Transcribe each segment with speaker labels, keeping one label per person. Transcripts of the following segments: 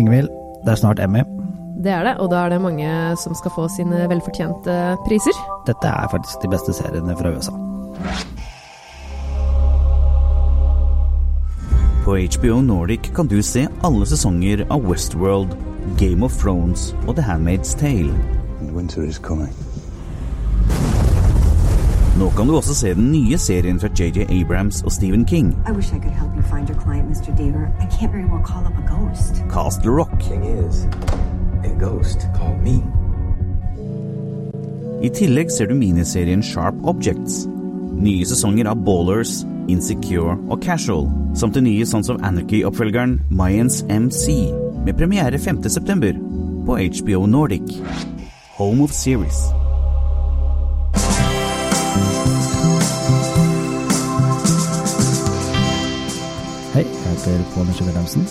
Speaker 1: Ingvild, det er snart Emmy.
Speaker 2: Det er det, og da er det mange som skal få sine velfortjente priser.
Speaker 1: Dette er faktisk de beste seriene fra USA.
Speaker 3: På HBO Nordic kan du se alle sesonger av Westworld, Game of Thrones og The Handmaid's Tale.
Speaker 4: And winter is coming.
Speaker 3: Nå kan du også se den nye serien fra JJ Abrams og Stephen King,
Speaker 5: I wish I could help you find your client, Mr. Deaver. I can't very well call up a ghost.
Speaker 3: Castle Rock.
Speaker 6: Thing is, a ghost called me.
Speaker 3: I tillegg ser du miniserien Sharp Objects. Nye sesonger av Ballers, Insecure og Casual, samt den nye Sons of Anarchy-oppfølgeren Mayans MC, med premiere 5.9. på HBO Nordic. Home of Series.
Speaker 1: Hei, jeg heter Pål Nisje Wilhelmsen,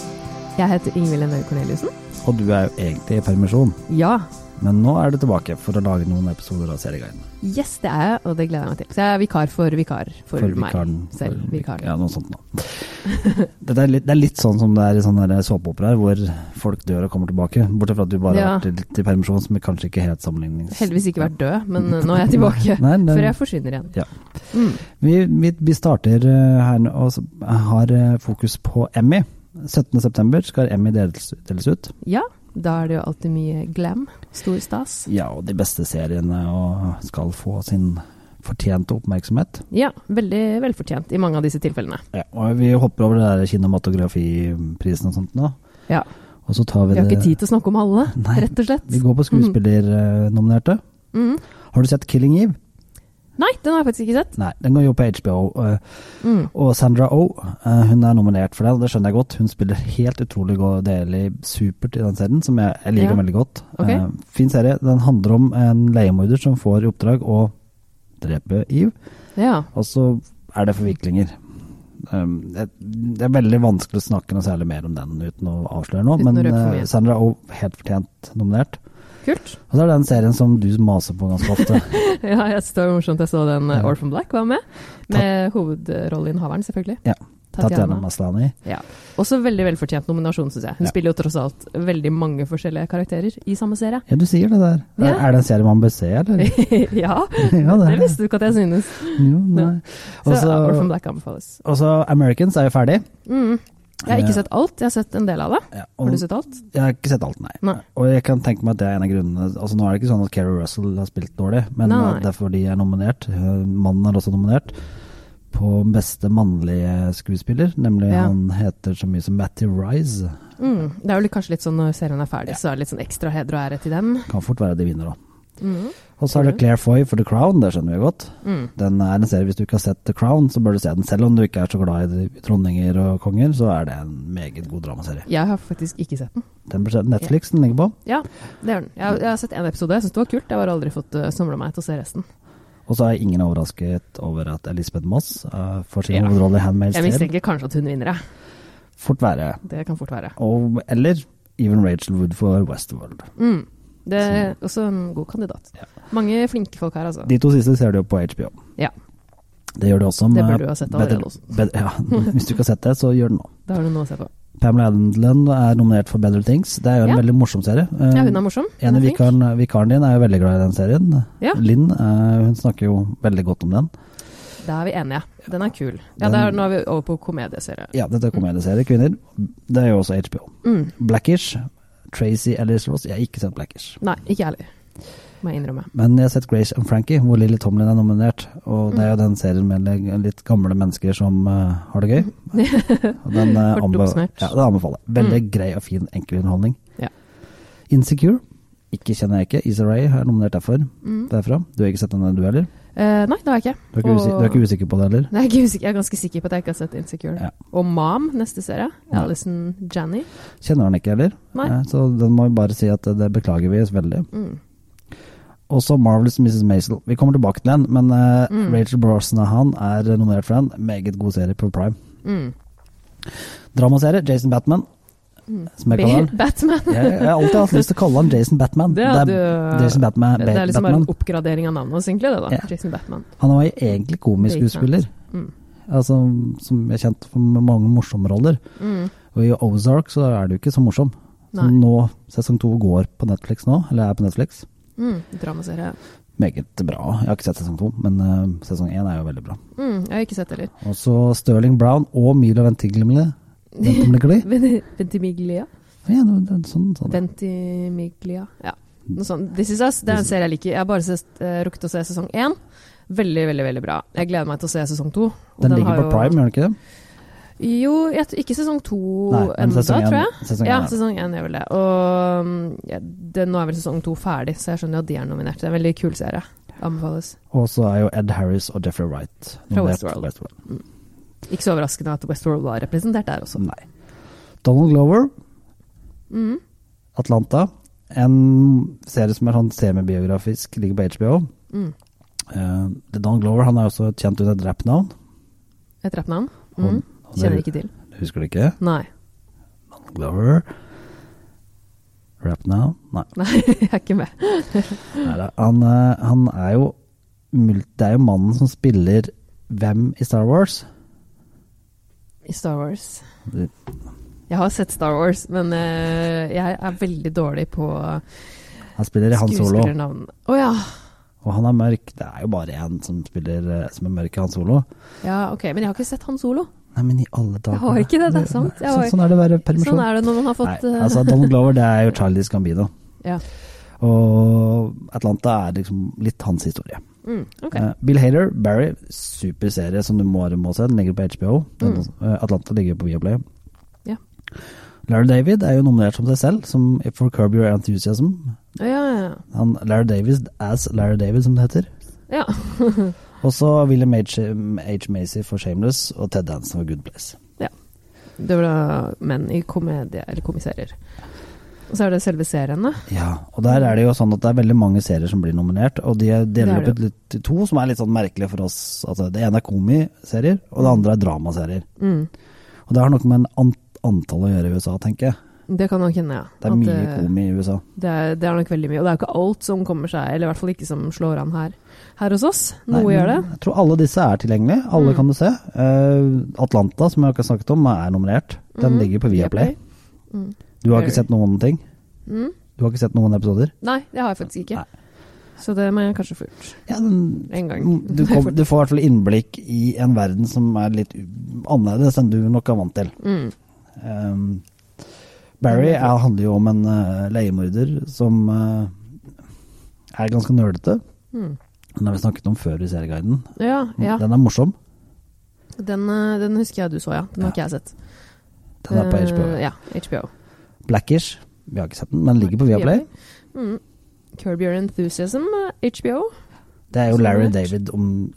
Speaker 2: Jeg heter Ingvild Enel Corneliussen.
Speaker 1: og du er jo egentlig i permisjon.
Speaker 2: Ja,
Speaker 1: Men nå er du tilbake for å lage noen episoder av Serieguiden.
Speaker 2: yes, det er jeg, og det gleder jeg meg til. Så jeg er vikar for vikar for, meg
Speaker 1: vikaren-
Speaker 2: selv.
Speaker 1: for-
Speaker 2: Vikaren.
Speaker 1: Ja, noe sånt nå. Dette er litt, det er litt sånn som det er i sånne der såpeoperaer hvor folk dør og kommer tilbake. Bortsett fra at du bare
Speaker 2: Ja.
Speaker 1: har vært litt i permisjon, som kanskje ikke er helt sammenlignings...
Speaker 2: Heldigvis ikke vært død, men eh, nå er jeg tilbake.
Speaker 1: Nei, nei.
Speaker 2: Før jeg forsvinner igjen.
Speaker 1: Ja.
Speaker 2: Mm.
Speaker 1: Vi, vi, vi starter eh, her nå og så har eh, fokus på Emmy. 17.9 skal Emmy deles, deles ut.
Speaker 2: Ja, da er det jo alltid mye glam. Stor stas.
Speaker 1: Ja, og de beste seriene og skal få sin fortjente oppmerksomhet.
Speaker 2: Ja, veldig velfortjent i mange av disse tilfellene.
Speaker 1: Ja, og vi hopper over det der kinematografiprisen og sånt nå.
Speaker 2: Ja.
Speaker 1: Og så tar vi
Speaker 2: Vi har
Speaker 1: det
Speaker 2: ikke tid til å snakke om alle,
Speaker 1: eh, Nei,
Speaker 2: rett og slett.
Speaker 1: Vi går på skuespillernominerte.
Speaker 2: Mm.
Speaker 1: Har du sett 'Killing Eve'?
Speaker 2: Nei, den har jeg faktisk ikke sett.
Speaker 1: Nei, den går jo på HBO. eh,
Speaker 2: Mm.
Speaker 1: Og Sandra O, eh, hun er nominert for det, og det skjønner jeg godt. Hun spiller helt utrolig god del i supert i den serien, som jeg, jeg liker
Speaker 2: Ja.
Speaker 1: veldig godt.
Speaker 2: Ok.
Speaker 1: Eh, fin serie. Den handler om en leiemorder som får i oppdrag å drepe Eve,
Speaker 2: Ja.
Speaker 1: og så er det forviklinger. Um, det, det er veldig vanskelig å snakke noe særlig mer om den uten å avsløre noe,
Speaker 2: Uten å
Speaker 1: men
Speaker 2: røpe for
Speaker 1: eh,
Speaker 2: mye.
Speaker 1: Sandra O helt fortjent nominert.
Speaker 2: Kult.
Speaker 1: Og så er det den serien som du maser på ganske ofte.
Speaker 2: Ja, jeg så morsomt jeg så den eh,
Speaker 1: Ja.
Speaker 2: Orphan Black var med. Med hovedrolleinnehaveren, selvfølgelig.
Speaker 1: Ja. Tatiana
Speaker 2: Tatiana.
Speaker 1: Maslani.
Speaker 2: Ja. Også veldig velfortjent nominasjon, syns jeg. Hun
Speaker 1: Ja.
Speaker 2: spiller jo tross alt veldig mange forskjellige karakterer i samme serie.
Speaker 1: Ja, du sier det der. Er,
Speaker 2: Ja.
Speaker 1: er det en serie man bør se, eller?
Speaker 2: ja,
Speaker 1: ja,
Speaker 2: det visste du ikke at jeg synes.
Speaker 1: Jo, nei.
Speaker 2: Så
Speaker 1: Også-
Speaker 2: Orphan Black anbefales.
Speaker 1: Og så Americans er jo ferdig.
Speaker 2: Mm. Jeg
Speaker 1: Ja.
Speaker 2: har ikke sett alt, jeg har sett en del av det. Har
Speaker 1: og
Speaker 2: du sett alt?
Speaker 1: jeg har ikke sett alt, nei.
Speaker 2: Nei.
Speaker 1: Og jeg kan tenke meg at det er en av grunnene. Altså Nå er det ikke sånn at Keri Russell har spilt dårlig, men
Speaker 2: Nei.
Speaker 1: det er fordi jeg er nominert. Eh, Mannen er også nominert på beste mannlige skuespiller, nemlig
Speaker 2: Ja.
Speaker 1: han heter så mye som Matty Rice.
Speaker 2: Mm. Det er jo kanskje litt sånn når serien er ferdig, så er det litt sånn ekstra heder og ære til dem.
Speaker 1: Kan fort være de vinner, da.
Speaker 2: Mm.
Speaker 1: Og så er det Claire Foy for The Crown, det skjønner vi jo godt.
Speaker 2: Mm.
Speaker 1: Den er en serie, Hvis du ikke har sett The Crown, så bør du se den. Selv om du ikke er så glad i dronninger og konger, så er det en meget god dramaserie.
Speaker 2: Jeg har faktisk ikke sett den.
Speaker 1: Den bør du se Netflix den ligger på.
Speaker 2: Ja, det er den. Jeg har, jeg har sett én episode, jeg syns det var kult. Jeg har aldri fått uh, samla meg til å se resten.
Speaker 1: Og så er ingen overrasket over at Elisabeth Moss eh, får sin
Speaker 2: Ja.
Speaker 1: hovedrolle i Handmaid's
Speaker 2: Jeg
Speaker 1: Tale.
Speaker 2: mistenker kanskje at hun vinner, jeg.
Speaker 1: Fort være.
Speaker 2: Det kan fort være.
Speaker 1: Og, eller even Rachel Wood for Westworld.
Speaker 2: Mm. Det er også en god kandidat. Mange flinke folk her, altså.
Speaker 1: Sånn. De to siste ser du jo på HBO.
Speaker 2: Ja.
Speaker 1: Det gjør du også med
Speaker 2: Det bør du ha sett allerede
Speaker 1: Better-
Speaker 2: også.
Speaker 1: Bet- ja, hvis du ikke har sett det, så gjør det nå.
Speaker 2: Det har du noe å se på.
Speaker 1: Pamela Adendlen er nominert for Better Things. Det er jo en
Speaker 2: Ja.
Speaker 1: veldig morsom serie. Eh,
Speaker 2: Ja, hun er morsom.
Speaker 1: en av
Speaker 2: Hun er flink.
Speaker 1: vikaren, vikaren din er jo veldig glad i den serien.
Speaker 2: Ja.
Speaker 1: Linn, eh, hun snakker jo veldig godt om den.
Speaker 2: Da er vi enige. Den er kul. Ja,
Speaker 1: Den-
Speaker 2: det er, nå er vi over på komedieserie.
Speaker 1: Ja, dette er komedieserie, kvinner. Det er jo også HBO.
Speaker 2: Mm.
Speaker 1: Blackish, Tracy Ellis Ross. Jeg har ikke sett Blackish.
Speaker 2: Nei, ikke jeg heller. Må jeg innrømme.
Speaker 1: Men jeg har sett Grace and Frankie, hvor Lily Tomlin er nominert. Og
Speaker 2: Mm.
Speaker 1: det er jo den serien med le- litt gamle mennesker som eh, har det gøy. Og den, eh,
Speaker 2: Kort
Speaker 1: anbe
Speaker 2: oppsummert.
Speaker 1: ja, den anbefaler jeg. Veldig grei og fin enkel underholdning.
Speaker 2: Ja.
Speaker 1: Insecure. Ikke kjenner jeg ikke. Issa Rae er nominert derfor. derfra. Du har ikke sett den du heller?
Speaker 2: Mm. Eh, nei, det har jeg ikke.
Speaker 1: Du er ikke, usi-
Speaker 2: Og-
Speaker 1: du er ikke usikker på det heller?
Speaker 2: Nei, jeg, er ikke usikker. jeg er ganske sikker på at jeg ikke har sett Insecure.
Speaker 1: Ja.
Speaker 2: Og Mom, neste serie.
Speaker 1: Ja.
Speaker 2: Alison Janny.
Speaker 1: Kjenner han ikke heller.
Speaker 2: Nei.
Speaker 1: Eh, Så den må vi bare si at eh, det beklager vi oss veldig.
Speaker 2: Mm.
Speaker 1: Også Marvelous Mrs. Maisel. Vi kommer tilbake til den, men eh,
Speaker 2: Mm.
Speaker 1: Rachel Brosnahan er nominert for den. Meget god serie på Prime.
Speaker 2: Mm.
Speaker 1: Dramaserie, Jason Batman.
Speaker 2: Mm.
Speaker 1: Som jeg kaller han.
Speaker 2: Batman.
Speaker 1: Jeg, jeg har alltid hatt lyst til å kalle han Jason Batman.
Speaker 2: Det hadde
Speaker 1: er
Speaker 2: jo-
Speaker 1: Jason Batman,
Speaker 2: Det er liksom bare
Speaker 1: Batman.
Speaker 2: en oppgradering av navnet hans, egentlig. det da,
Speaker 1: Ja.
Speaker 2: Jason Batman.
Speaker 1: Han var jo egentlig komisk
Speaker 2: Bateman.
Speaker 1: skuespiller.
Speaker 2: Mm.
Speaker 1: Altså, som er kjent for mange morsomme roller.
Speaker 2: Mm.
Speaker 1: Og i Ozark så er du ikke så morsom. Så
Speaker 2: Nei.
Speaker 1: nå, sesong to går på Netflix nå, eller er på Netflix.
Speaker 2: Mm, dramaserie.
Speaker 1: Meget bra. Jeg har ikke sett sesong to, men eh, sesong én er jo veldig bra.
Speaker 2: Mm, jeg har ikke sett det heller.
Speaker 1: Og så Sterling Brown og Milo Ventimigli. Ventimigli?
Speaker 2: Ven- Ventimiglia?
Speaker 1: Ja, det, det, sånn, sånn.
Speaker 2: Ventimiglia. Ja.
Speaker 1: Mm.
Speaker 2: Noe sånt. This Is Us det er en serie jeg liker. Jeg har bare sett, eh, rukket å se sesong én. Veldig, veldig veldig bra. Jeg gleder meg til å se sesong to. Og
Speaker 1: Den ligger
Speaker 2: har
Speaker 1: på Prime, gjør den ikke det?
Speaker 2: Jo, jeg, tror- ikke sesong to
Speaker 1: Nei, men
Speaker 2: ennå,
Speaker 1: sesong
Speaker 2: tror
Speaker 1: én.
Speaker 2: jeg.
Speaker 1: Sesong
Speaker 2: Ja,
Speaker 1: én er det.
Speaker 2: sesong én gjør vel det. Og mm, ja, det, nå er vel sesong to ferdig, så jeg skjønner jo at de er nominert. Det er en veldig kul serie. Anbefales.
Speaker 1: Og så er jo Ed Harris og Jeffrey Wright nominert
Speaker 2: Westworld.
Speaker 1: for Westworld.
Speaker 2: Ikke så overraskende at Westworld var representert der også. Mm,
Speaker 1: Nei. Donald Glover, Mm. Atlanta. En serie som er sånn semibiografisk, ligger på HBO.
Speaker 2: Mm.
Speaker 1: Eh, det Donald Glover han er også kjent under et rappnavn.
Speaker 2: Et rappnavn?
Speaker 1: Og-
Speaker 2: Mm.
Speaker 1: og det-
Speaker 2: Kjenner ikke til.
Speaker 1: Husker du ikke?
Speaker 2: Nei.
Speaker 1: Glover. Rappnavn? Nei.
Speaker 2: Nei, jeg er ikke med.
Speaker 1: Neida. Han, eh, han er jo mul- Det er jo mannen som spiller hvem i Star Wars?
Speaker 2: I Star Wars.
Speaker 1: Det-
Speaker 2: Jeg har sett Star Wars, men eh, jeg er veldig dårlig på
Speaker 1: Han spiller i Han Solo.
Speaker 2: skuespillernavn. Å ja.
Speaker 1: Og han er mørk. Det er jo bare én som spiller eh, som er mørk i Han Solo.
Speaker 2: ja. Ok, men jeg har ikke sett Han Solo.
Speaker 1: Nei, men i alle dager
Speaker 2: Jeg har ikke det, det er sant. Jeg
Speaker 1: Sånn,
Speaker 2: har-
Speaker 1: sånn er det å være permisjon.
Speaker 2: Sånn er det når man har fått
Speaker 1: Nei,
Speaker 2: eh,
Speaker 1: altså Donald Glover det er jo Charlies Gambino.
Speaker 2: ja.
Speaker 1: Og Atlanta er liksom litt hans historie.
Speaker 2: mm, ok.
Speaker 1: Eh, Bill Hader, Barry, super serie som du må, må se. Den ligger på HBO. Den, eh, Atlanta ligger på Viaplay.
Speaker 2: Mm. Ja.
Speaker 1: Larry David er jo nominert som seg selv, som for Curb Your Enthusiasm.
Speaker 2: Å, Ja, ja,
Speaker 1: Han, Larry Davis as Larry David, som det heter.
Speaker 2: ja. ja.
Speaker 1: Og så William H. H. Macy for Shameless og Ted Danson for Good Place.
Speaker 2: Det var da menn i komedie, eller komiserier. Og så er det selve serien, da.
Speaker 1: Ja, og der er det jo sånn at det er veldig mange serier som blir nominert, og de er-
Speaker 2: Det
Speaker 1: deler
Speaker 2: er
Speaker 1: opp i litt- i to som er litt sånn merkelige for oss. Altså, det ene er komiserier, og det andre er dramaserier.
Speaker 2: Mm.
Speaker 1: Og det har noe med en ant antall å gjøre i USA, tenker jeg.
Speaker 2: Det kan nok hende, ja.
Speaker 1: Det er
Speaker 2: At,
Speaker 1: mye
Speaker 2: eh,
Speaker 1: komi i USA.
Speaker 2: Det er, det er nok veldig mye. Og det er jo ikke alt som kommer seg, eller i hvert fall ikke som slår an her, her hos oss. Noe
Speaker 1: Nei,
Speaker 2: gjør det. Mm.
Speaker 1: men Jeg tror alle disse er tilgjengelige. Alle kan du se. Eh, Atlanta, som jeg har ikke snakket om, er nominert.
Speaker 2: Mm.
Speaker 1: Den ligger på Viaplay. Du har ikke
Speaker 2: Very.
Speaker 1: sett noen ting?
Speaker 2: Mm.
Speaker 1: Du har ikke sett noen episoder?
Speaker 2: Nei, det har jeg faktisk ikke.
Speaker 1: Nei. Mm.
Speaker 2: Så det må jeg kanskje få gjort
Speaker 1: Ja, men
Speaker 2: en gang.
Speaker 1: du, kom, du får i hvert fall innblikk i en verden som er litt u- annerledes enn du nok er vant til.
Speaker 2: Mm.
Speaker 1: Um, Barry er, handler jo om en eh, leiemorder som eh, er ganske nølete.
Speaker 2: Mm.
Speaker 1: Den har vi snakket om før i Serieguiden.
Speaker 2: Ja, ja.
Speaker 1: Den er morsom.
Speaker 2: Den, eh, den husker jeg du så, ja. Den har
Speaker 1: Ja.
Speaker 2: ikke jeg sett.
Speaker 1: Den er på
Speaker 2: Eh,
Speaker 1: HBO.
Speaker 2: Ja, HBO.
Speaker 1: Blackish. Vi har ikke sett den, men den ligger på Viaplay.
Speaker 2: Mm. Curb Your Enthusiasm, eh, HBO.
Speaker 1: Det er jo
Speaker 2: Så
Speaker 1: Larry
Speaker 2: kult.
Speaker 1: David om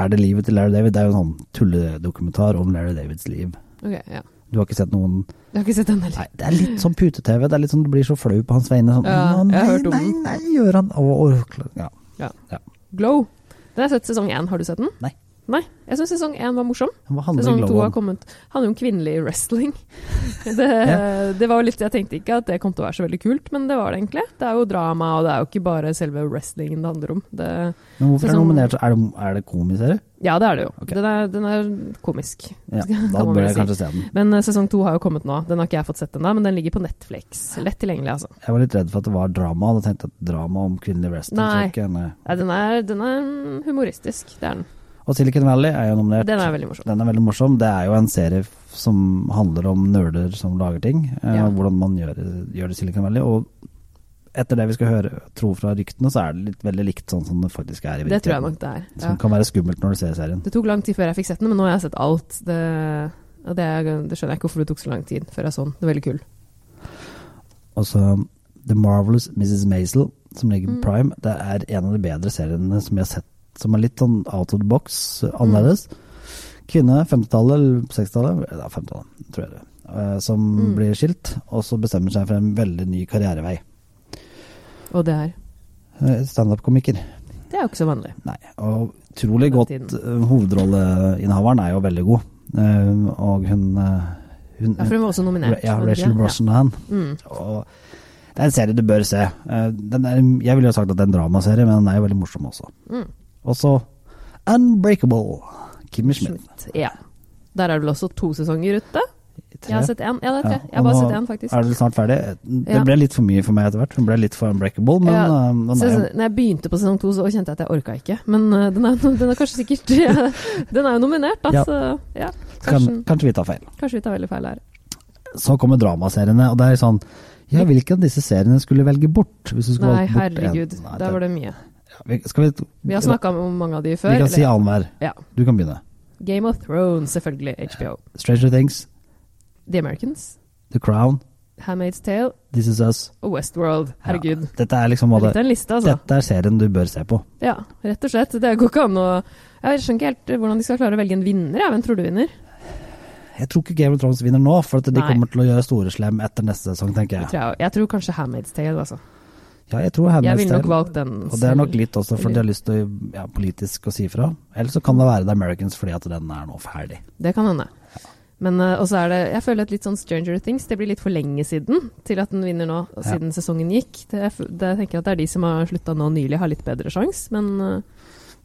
Speaker 1: Er det livet til Larry David? Det er jo en sånn tulledokumentar om Larry Davids liv.
Speaker 2: Ok, ja.
Speaker 1: Du har ikke sett noen
Speaker 2: Jeg har ikke sett den heller.
Speaker 1: Nei, det er litt sånn pute-TV. Det er litt sånn du blir så flau på hans vegne. Sånn,
Speaker 2: Ja,
Speaker 1: «Å,
Speaker 2: jeg
Speaker 1: nei,
Speaker 2: har hørt om
Speaker 1: nei,
Speaker 2: den.»
Speaker 1: nei, gjør han og, og, ja.
Speaker 2: Glow. Den har jeg sett sesong én. Har du sett den?
Speaker 1: Nei.
Speaker 2: Nei, Jeg syns sesong én var morsom.
Speaker 1: Hva handler
Speaker 2: Sesong to
Speaker 1: Glow
Speaker 2: har
Speaker 1: om?
Speaker 2: kommet handler om kvinnelig wrestling. Det, det var jo litt Jeg tenkte ikke at det kom til å være så veldig kult, men det var det egentlig. Det er jo drama, og det er jo ikke bare selve wrestlingen det handler om. Det,
Speaker 1: Men hvorfor er det
Speaker 2: sesong-
Speaker 1: nominert? Er det, er det komiserie?
Speaker 2: ja, det er det jo.
Speaker 1: Ok.
Speaker 2: Den, er, den er komisk.
Speaker 1: Ja,
Speaker 2: Kan
Speaker 1: da
Speaker 2: man
Speaker 1: bør
Speaker 2: vel
Speaker 1: jeg
Speaker 2: si.
Speaker 1: kanskje se den.
Speaker 2: Men eh, sesong to har jo kommet nå. Den har ikke jeg fått sett ennå, men den ligger på Netflix. Lett tilgjengelig, altså.
Speaker 1: Jeg var litt redd for at det var drama, og da tenkte jeg at drama om kvinnelig wrestling. så
Speaker 2: Nei.
Speaker 1: ikke, nei.
Speaker 2: Nei, den, er, den er mm, humoristisk. Det er den.
Speaker 1: Og Silicon Valley er jo nominert.
Speaker 2: Den er veldig morsom.
Speaker 1: Den er veldig morsom. Det er jo en serie f- som handler om nerder som lager ting. eh,
Speaker 2: Ja.
Speaker 1: Hvordan man gjør, gjør det i Silicon Valley. Og etter det vi skal høre, tro fra ryktene, så er det litt, veldig likt sånn som det faktisk er i virkeligheten.
Speaker 2: Det tror jeg nok det er.
Speaker 1: Som kan være skummelt når du ser serien.
Speaker 2: Det tok lang tid før jeg fikk sett den, men nå har jeg sett alt. Det, og det, det skjønner jeg ikke hvorfor det tok så lang tid før jeg så den. Det er veldig kul.
Speaker 1: Og så The Marvelous Mrs. Maisel, som ligger
Speaker 2: Mm.
Speaker 1: på Prime. Det er en av de bedre seriene som jeg har sett, som er litt sånn out of the box, annerledes.
Speaker 2: Mm.
Speaker 1: Kvinne, 50-tallet eller 60-tallet, ja, 50-tallet, tror jeg det er, eh, som
Speaker 2: Mm.
Speaker 1: blir skilt, og så bestemmer seg for en veldig ny karrierevei.
Speaker 2: Og det er
Speaker 1: Eh, Standup-komiker.
Speaker 2: Det er jo ikke så vanlig.
Speaker 1: Nei. Og utrolig godt
Speaker 2: Tiden.
Speaker 1: eh, Hovedrolleinnehaveren er jo veldig god, Eh, og hun, eh, hun
Speaker 2: Ja, for hun var også nominert.
Speaker 1: Ja,
Speaker 2: var det
Speaker 1: Rachel
Speaker 2: ikke?
Speaker 1: Brosnahan.
Speaker 2: Ja. Mm.
Speaker 1: Og det er en serie du bør se. Eh, Den er, jeg ville jo sagt at det er en dramaserie, men den er jo veldig morsom også.
Speaker 2: Mm.
Speaker 1: Og så Unbreakable. Kimmy Schmidt.
Speaker 2: Schmidt. Ja. Der er det vel også to sesonger ute?
Speaker 1: Tre.
Speaker 2: Jeg har sett én. Ja, det er tre.
Speaker 1: Ja,
Speaker 2: Jeg har
Speaker 1: og
Speaker 2: bare
Speaker 1: nå
Speaker 2: sett én, faktisk.
Speaker 1: Er du snart ferdig? Eh, Det
Speaker 2: Ja.
Speaker 1: ble litt for mye for meg etter hvert. Hun ble litt for unbreakable, men
Speaker 2: Ja,
Speaker 1: eh, den
Speaker 2: Så
Speaker 1: er
Speaker 2: jeg, sånn,
Speaker 1: jo
Speaker 2: når jeg begynte på sesong to, så kjente jeg at jeg orka ikke. Men eh, den, er, den er kanskje sikkert Den er jo nominert, da,
Speaker 1: Ja.
Speaker 2: så ja.
Speaker 1: kan,
Speaker 2: Kanskje,
Speaker 1: Kanskje vi tar feil.
Speaker 2: kanskje vi tar veldig feil her.
Speaker 1: Så kommer dramaseriene, og det er sånn Ja, hvilke av disse seriene skulle du velge bort? Hvis du skulle
Speaker 2: Nei,
Speaker 1: valgt bort en?
Speaker 2: herregud.
Speaker 1: Nei,
Speaker 2: Der var det mye.
Speaker 1: Vi- Skal vi,
Speaker 2: Vi har snakka om mange av de før.
Speaker 1: Vi kan si
Speaker 2: eller-
Speaker 1: annenhver.
Speaker 2: Ja.
Speaker 1: Du kan begynne.
Speaker 2: Game of Thrones, selvfølgelig. HBO.
Speaker 1: Stranger Things,
Speaker 2: The Americans.
Speaker 1: The Crown,
Speaker 2: Handmaid's Tale
Speaker 1: This Is Us.
Speaker 2: og Westworld. Herregud.
Speaker 1: Ja, dette er liksom hva
Speaker 2: Litt av
Speaker 1: det,
Speaker 2: en liste, altså.
Speaker 1: Dette er serien du bør se på.
Speaker 2: Ja, rett og slett. Det går ikke an å Jeg skjønner ikke helt eh, hvordan de skal klare å velge en vinner. Ja. Hvem tror du vinner?
Speaker 1: Jeg tror ikke Game of Thrones vinner nå, for at de
Speaker 2: Nei.
Speaker 1: kommer til å gjøre store slem etter neste sesong, tenker
Speaker 2: Jeg
Speaker 1: jeg.
Speaker 2: tror, jeg, jeg tror kanskje Handmaid's Tale, altså.
Speaker 1: Ja, jeg tror
Speaker 2: Jeg
Speaker 1: Handmaid's
Speaker 2: ville nok
Speaker 1: Tale-
Speaker 2: valgt den.
Speaker 1: Og det er nok
Speaker 2: selv.
Speaker 1: litt også fordi de har lyst til å, ja, politisk å si fra. Eller så kan det være The Americans fordi at den er nå ferdig.
Speaker 2: Det kan hende. Men eh, også er det Jeg føler et litt sånn Stranger Things. Det blir litt for lenge siden til at den vinner nå, og
Speaker 1: Ja.
Speaker 2: siden sesongen gikk. Det, er f- det jeg tenker jeg at det er de som har slutta nå nylig, har litt bedre sjanse, men eh,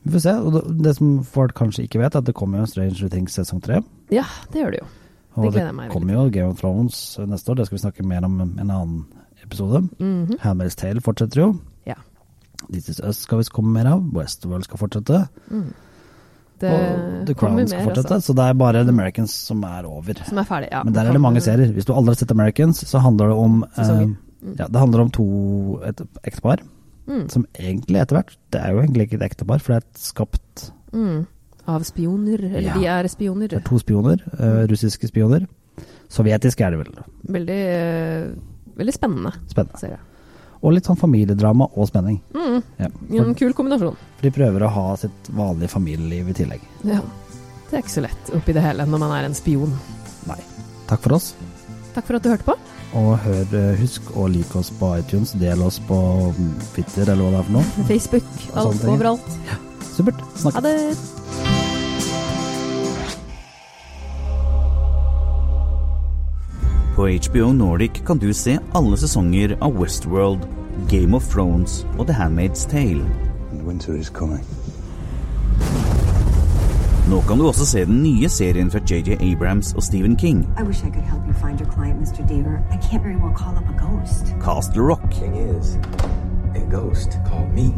Speaker 1: Vi får se. Og det, det som folk kanskje ikke vet, er at det kommer jo Stranger Things sesong tre.
Speaker 2: ja, det gjør det jo.
Speaker 1: Og
Speaker 2: Det gleder jeg meg veldig
Speaker 1: kommer jo Game of Thrones eh, neste år, det skal vi snakke mer om i en annen episode.
Speaker 2: Mhm,
Speaker 1: Handmaid's Tale fortsetter jo.
Speaker 2: Ja.
Speaker 1: This Is Us skal visst komme mer av. Westworld skal fortsette.
Speaker 2: Det
Speaker 1: og The Crown
Speaker 2: kommer
Speaker 1: skal
Speaker 2: mer,
Speaker 1: fortsette.
Speaker 2: altså.
Speaker 1: Så det er bare The Americans som er over.
Speaker 2: Som er ferdig, ja.
Speaker 1: Men der er det mange serier. Hvis du aldri har sett Americans, så handler det om eh,
Speaker 2: Sesonger.
Speaker 1: ja, Det handler om to et ektepar.
Speaker 2: Mm.
Speaker 1: Som egentlig etter hvert Det er jo egentlig ikke et ektepar, for det er et skapt
Speaker 2: Mm. Av spioner. Eller
Speaker 1: Ja.
Speaker 2: de er spioner.
Speaker 1: det er to spioner. eh,
Speaker 2: Mm.
Speaker 1: russiske spioner. Sovjetiske er det vel.
Speaker 2: Veldig, eh, veldig spennende,
Speaker 1: Spennende.
Speaker 2: ser jeg.
Speaker 1: Og litt sånn familiedrama og spenning.
Speaker 2: Mm.
Speaker 1: Ja, for,
Speaker 2: En kul kombinasjon.
Speaker 1: for de prøver å ha sitt vanlige familieliv i tillegg.
Speaker 2: Ja. Det er ikke så lett oppi det hele når man er en spion.
Speaker 1: Nei. Takk for oss.
Speaker 2: Takk for at du hørte på.
Speaker 1: Og hør, eh, husk å like oss på iTunes. Del oss på mm, Twitter eller hva det er for noe.
Speaker 2: Facebook,
Speaker 1: Mm. sånne
Speaker 2: alt
Speaker 1: ting.
Speaker 2: overalt.
Speaker 1: Supert. Snakkes.
Speaker 2: Ha det!
Speaker 3: På HBO Nordic kan du se alle sesonger av Westworld, Game of Thrones og The Handmaid's Tale.
Speaker 6: Winter is coming.
Speaker 3: Nå kan du også se den nye serien fra JJ Abrams og Stephen King,
Speaker 5: I wish I could help you find your client, Mr. Deaver. I can't very well call up a ghost.
Speaker 3: Castle Rock.
Speaker 6: Thing is, a ghost called me.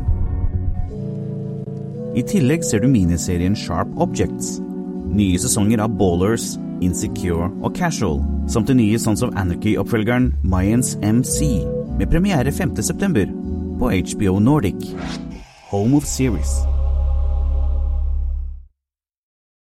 Speaker 3: I tillegg ser du miniserien Sharp Objects. Nye sesonger av Ballers, Insecure og Casual, samt den nye Sons of Anarchy-oppfølgeren Mayans MC, med premiere 5.9. på HBO Nordic. Home of Series.